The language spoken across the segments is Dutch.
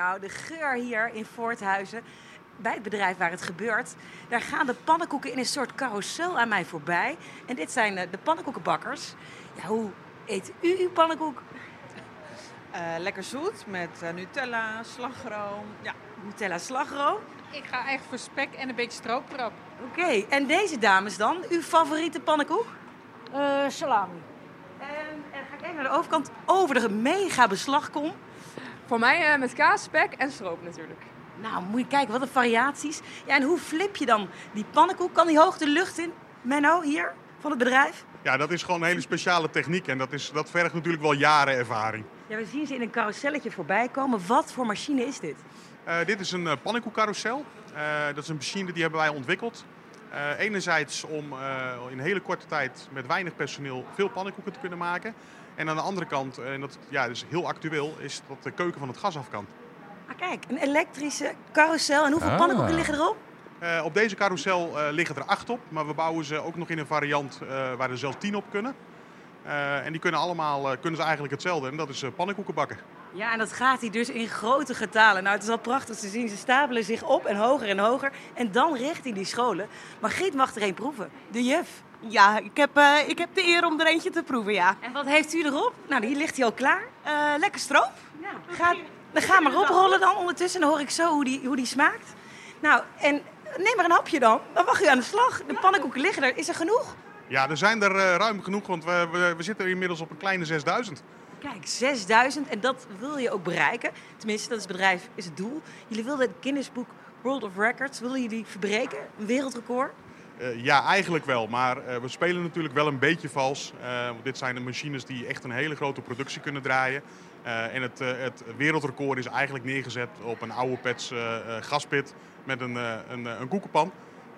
Nou, de geur hier in Voorthuizen, bij het bedrijf waar het gebeurt, daar gaan de pannenkoeken in een soort carousel aan mij voorbij. En dit zijn eh, de pannenkoekenbakkers. Ja, hoe eet u uw pannenkoek? Eh, lekker zoet met eh, Nutella, slagroom. Ja, Nutella slagroom. Ik ga echt voor spek en een beetje stroopkrap. Oké, en deze dames dan, uw favoriete pannenkoek? Eh, salami. En, en ga ik even naar de overkant, over de mega beslagkom. Voor mij eh, met kaas, spek en stroop natuurlijk. Nou, moet je kijken, wat een variaties. Ja, en hoe flip je dan die pannenkoek? Kan die hoog de lucht in? Menno, hier, van het bedrijf? Ja, dat is gewoon een hele speciale techniek en dat, is, dat vergt natuurlijk wel jaren ervaring. Ja, we zien ze in een carouselletje voorbij komen. Wat voor machine is dit? Eh, dit is een eh, pannenkoekcarousel. Eh, dat is een machine die hebben wij ontwikkeld. Eh, enerzijds om eh, in hele korte tijd met weinig personeel veel pannenkoeken te kunnen maken. En aan de andere kant, eh, en dat ja, dat is heel actueel, is dat de keuken van het gas af kan. Ah, kijk, een elektrische carousel. En hoeveel Ah. pannenkoeken liggen erop? Eh, op deze carousel eh, liggen er acht op, maar we bouwen ze ook nog in een variant eh, waar er zelfs tien op kunnen. Eh, en die kunnen allemaal eh, kunnen ze eigenlijk hetzelfde en dat is eh, pannenkoeken bakken. Ja, en dat gaat hij dus in grote getalen. Nou, het is al prachtig te zien. Ze stapelen zich op en hoger en hoger. En dan richting die scholen. Maar Giet mag er een proeven. De juf. Ja, ik heb, eh, ik heb de eer om er eentje te proeven, ja. En wat heeft u erop? Nou, hier ligt hij al klaar. Eh, lekker stroop. Nou, ga, dan ga maar oprollen dan ondertussen. Dan hoor ik zo hoe die, hoe die smaakt. Nou, en neem maar een hapje dan. Dan mag u aan de slag. De pannenkoeken liggen er. Is er genoeg? Ja, er zijn er eh, ruim genoeg, want we, we, we zitten inmiddels op een kleine 6000. Kijk, 6000 en dat wil je ook bereiken. Tenminste, dat is het bedrijf, is het doel. Jullie wilden het Guinness Book World of Records, willen jullie verbreken? Een wereldrecord? Eh, ja, eigenlijk wel. Maar eh, we spelen natuurlijk wel een beetje vals. Eh, want dit zijn de machines die echt een hele grote productie kunnen draaien. Eh, en het, eh, het wereldrecord is eigenlijk neergezet op een oude pets eh, eh, gaspit met een, eh, een, eh, een koekenpan.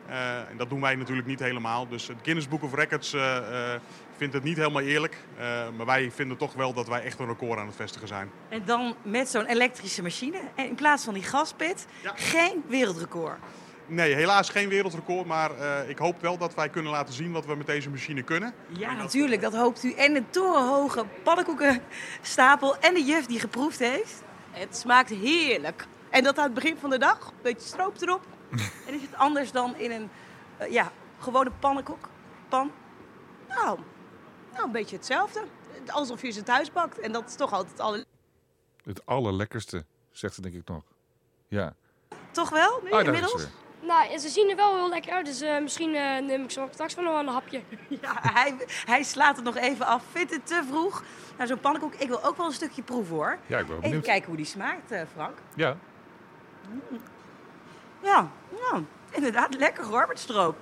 Eh, en dat doen wij natuurlijk niet helemaal. Dus het Guinness Book of Records eh, eh, vindt het niet helemaal eerlijk. Eh, maar wij vinden toch wel dat wij echt een record aan het vestigen zijn. En dan met zo'n elektrische machine en in plaats van die gaspit, Ja. geen wereldrecord. Nee, helaas geen wereldrecord. Maar eh, ik hoop wel dat wij kunnen laten zien wat we met deze machine kunnen. Ja, natuurlijk, eh, dat hoopt u. En een torenhoge pannenkoekenstapel en de juf die geproefd heeft. Het smaakt heerlijk. En dat aan het begin van de dag. Beetje stroop erop. En is het anders dan in een eh, ja, gewone pannenkoek? Pan? Nou, nou een beetje hetzelfde. Alsof je ze thuis bakt. En dat is toch altijd alle... Het allerlekkerste, zegt ze denk ik nog. Ja. Toch wel, nu Ah, daar is inmiddels? ze weer. Nou, ze zien er wel heel lekker uit, dus eh, misschien eh, neem ik zo straks wel nog wel een hapje. Ja, hij, hij slaat het nog even af. Vindt het te vroeg? Nou, zo'n pannenkoek, ik wil ook wel een stukje proeven hoor. Ja, ik ben wel Even benieuwd. kijken hoe die smaakt, eh, Frank. Ja. Ja, ja, inderdaad, lekker hoor met stroop.